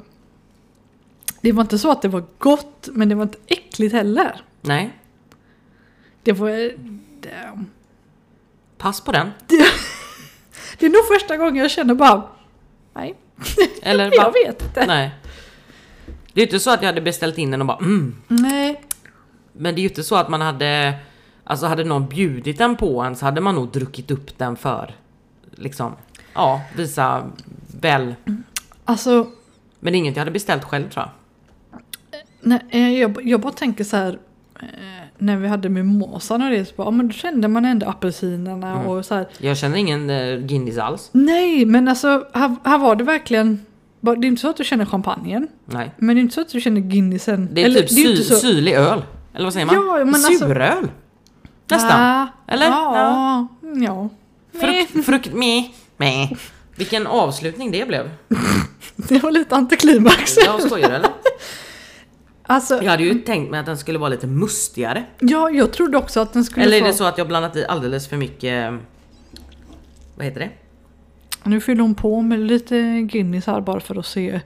Det var inte så att det var gott men det var inte äckligt heller.
Nej,
Det var... eh, Det,
pass på den.
det är nog första gången jag känner bara... Nej,
Eller
jag
bara,
vet inte.
nej. Det är ju inte så att jag hade beställt in den och bara mm.
Nej.
Men det är ju inte så att man hade... Alltså hade någon bjudit den på en så hade man nog druckit upp den för... Liksom, ja, visa väl.
Alltså
Men det är inget jag hade beställt själv tror jag.
Nej, eh, jag, jag bara tänker så här. eh, När vi hade mimosan och det så bara, ja, men då kände man ändå apelsinerna
Mm.
och så här.
Jag känner ingen eh, Guinness alls.
Nej men alltså här, här var det verkligen. bara- Det är inte så att du känner champagnen.
Nej.
Men det är inte så att du känner Guinnessen.
Det är typ
ju
sy- syrlig öl. Eller vad säger man?
Ja, men alltså-
Suröl? Nästan.
Ah,
Eller?
Ja. mm, ja. Nej,
Frukt... Frukt... Meh. Meh. Vilken avslutning det blev.
det var lite antiklimax.
Jag skojar eller?
Alltså,
Jag hade ju tänkt mig att den skulle vara lite mustigare.
ja, jag trodde också att den skulle
Eller är
få...
det så att jag blandat i alldeles för mycket... eh, Vad heter det?
Nu fyller hon på med lite Guinness här bara för att se.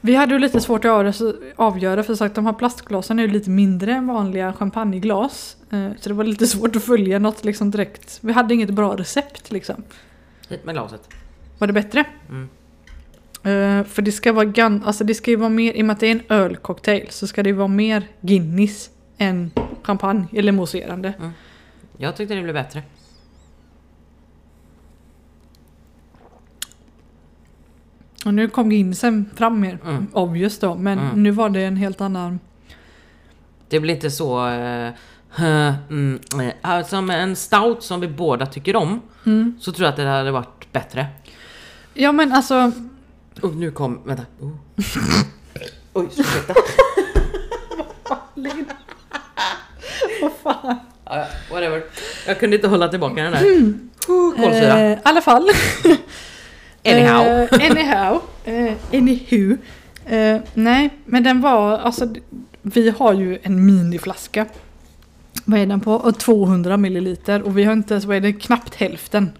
Vi hade ju lite svårt att avgöra- avgöra för sagt de här plastglasen är ju lite mindre än vanliga champagneglas. Eh, Så det var lite svårt att följa något liksom direkt. Vi hade inget bra recept liksom.
Hit med glaset.
Var det bättre?
Mm.
Eh, För det ska vara gan- alltså det ska ju vara mer, i och med att det är en ölcocktail så ska det ju vara mer Guinness än champagne eller mousserande.
Jag tyckte det blev bättre.
Och nu kom Guinnessen fram mer,
Mm.
obvious då, men
Mm.
nu var det en helt annan...
Det blir inte så... eh, eh, mm, eh, ah, som en stout som vi båda tycker om
Mm.
så tror jag att det hade varit bättre.
Ja men alltså,
Och nu kom... Vänta. Oh. Oj, ursäkta.
Vad fan?
Ja, ja, whatever. Jag kunde inte hålla tillbaka den där. Oh, kolsyra.
Mm. Eh, I alla fall.
Anyhow.
Eh, anyhow. Eh, anywho. Eh, nej, men den var, alltså d- vi har ju en miniflaska. Vad är den på? Och 200 milliliter och vi har inte ens, vad är det, knappt hälften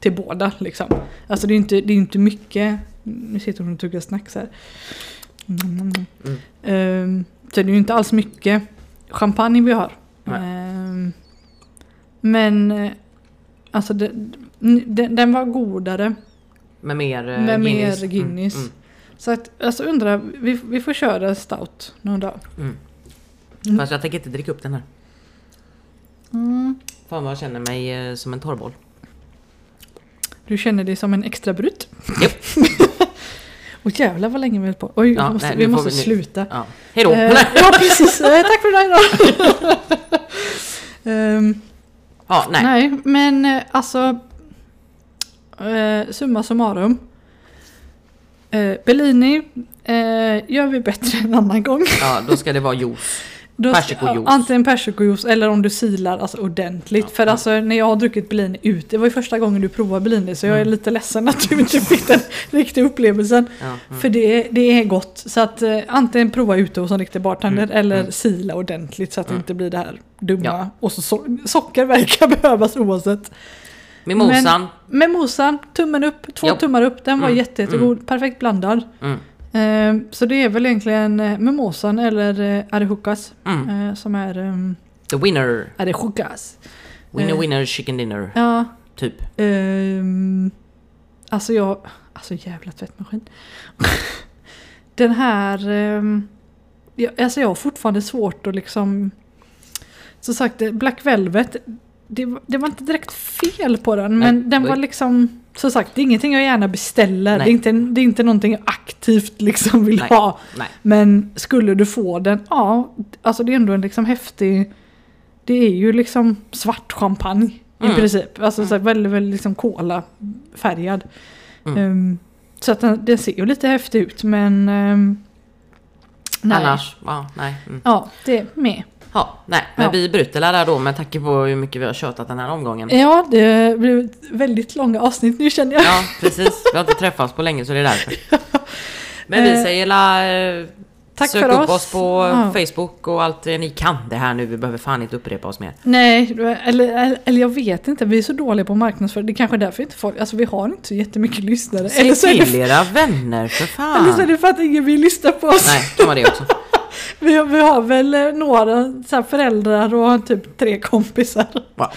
till båda liksom. Alltså det är inte, det är inte mycket. Nu sitter hon och tuggar snacks här. Mm, mm, mm. Eh, så det är ju inte alls mycket champagne vi har.
Nej.
Eh, men eh, alltså det, n- den, den var godare.
Med mer eh,
Med mer
Guinness. Mm,
Guinness.
mm,
Så att, alltså undrar, vi, vi får köra stout någon dag.
mm.
Mm.
Fast jag tänker inte dricka upp den här. Fan vad jag känner mig eh, som en torrboll.
Du känner dig som en extra brut.
Japp.
Och jävlar vad länge vi höll på. Oj,
Ja,
vi måste,
nej, nu
vi
får
måste
vi- nu-
sluta.
Ja. Hejdå!
Eh, ja, precis. Eh, tack för idag idag. Ehm,
ja, nej.
nej. men eh, alltså. eh, summa summarum. Eh, Bellini eh, gör vi bättre en annan gång.
Ja, då ska det vara juice.
Då-
Persikojuice.
ja, Antingen persikojuice eller om du silar alltså, ordentligt. För alltså, när jag har druckit Bellini ut, det var ju första gången du provade Bellini så
Mm.
jag är lite ledsen att du inte fick den riktiga upplevelsen.
Ja, mm.
För det, det är gott. Så att eh, antingen prova ute hos en riktig bartender eller sila ordentligt så att det inte blir det här dumma.
Mm. Ja.
Och så so socker verkar behövas oavsett.
Mimosan.
Mimosan, tummen upp, två
Ja.
tummar upp. Den var
Mm,
jätte, jättegod, perfekt blandad.
Mm.
Eh, Så det är väl egentligen eh, mimosan eller eh, arejucas
Mm.
eh, som är ehm,
The winner.
arejucas.
Winner
Eh.
winner chicken dinner.
Ja,
Typ.
ehm, alltså jag... Alltså jävla tvättmaskin. Den här... ehm, jag, alltså jag har fortfarande svårt att liksom... Som sagt, eh, Black Velvet, det, var- det var inte direkt fel på den
Nej,
men den
oj.
var liksom... Som sagt, det är ingenting jag gärna beställer. Det är,
Nej.
inte, det är inte någonting jag aktivt liksom vill
Nej.
ha.
Nej.
Men skulle du få den, ja, alltså det är ändå en liksom häftig... Det är ju liksom svart champagne
Mm.
i princip. Alltså så här, väldigt, väldigt liksom kolafärgad.
Mm.
Ehm, så att den, den ser ju lite häftig ut men... ehm,
Annars, ja, nej. Mm.
Ja, det är med.
Ja, nej. Men
Ja.
vi bryter där då med tanke på hur mycket vi har tjötat den här omgången.
Ja, det blev ett väldigt långa avsnitt nu känner jag.
Ja, precis. Vi har inte träffats på länge så det är därför. Men vi
Eh,
säger la... eh,
tack
Sök
för
upp
oss.
oss, på
Ja.
Facebook och allt eh, ni kan det här nu. Vi behöver fan inte upprepa oss mer.
Nej, eller, eller, eller jag vet inte. Vi är så dåliga på marknadsföring. Det är kanske är därför inte folk... Alltså vi har inte så jättemycket lyssnare. Eller
Säg
så, är det,
till era vänner för
eller så är
fan!
det för att ingen vill lyssna på oss.
Nej, kan vara det också.
Vi har, vi har väl eh, några så här, föräldrar och typ tre kompisar.
Ja,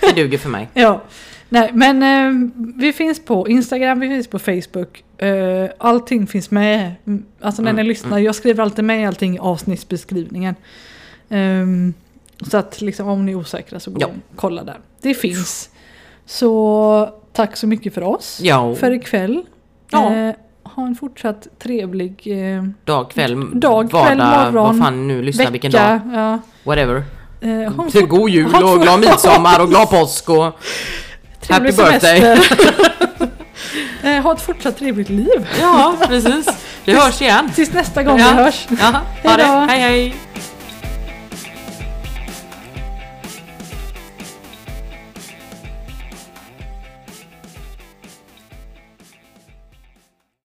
Det duger för mig.
Ja. Nej, men eh, vi finns på Instagram, vi finns på Facebook. Eh, allting finns med. Mm, Alltså när
Mm,
ni lyssnar, jag skriver alltid med allting i avsnittsbeskrivningen. Ehm, så att liksom, om ni är osäkra så gå
Ja.
och kolla där. Det finns. Så tack så mycket för oss.
Ja,
För ikväll.
Ja.
Eh, ha en fortsatt trevlig eh,
dag, kväll,
dag, kväll, morgon,
vad fan nu, lyssna
vecka.
vilken dag.
Ja.
Whatever.
Eh, ha en
Till
fort-
god jul
ha en
och
fort-
glad midsommar och glad påsk och...
Trevlig
Happy birthday.
semester. Eh, ha ett fortsatt trevligt liv.
Ja, precis. Vi hörs igen.
Tills nästa gång vi
Ja.
hörs.
Ja, ha det.
Hejdå.
Hej hej.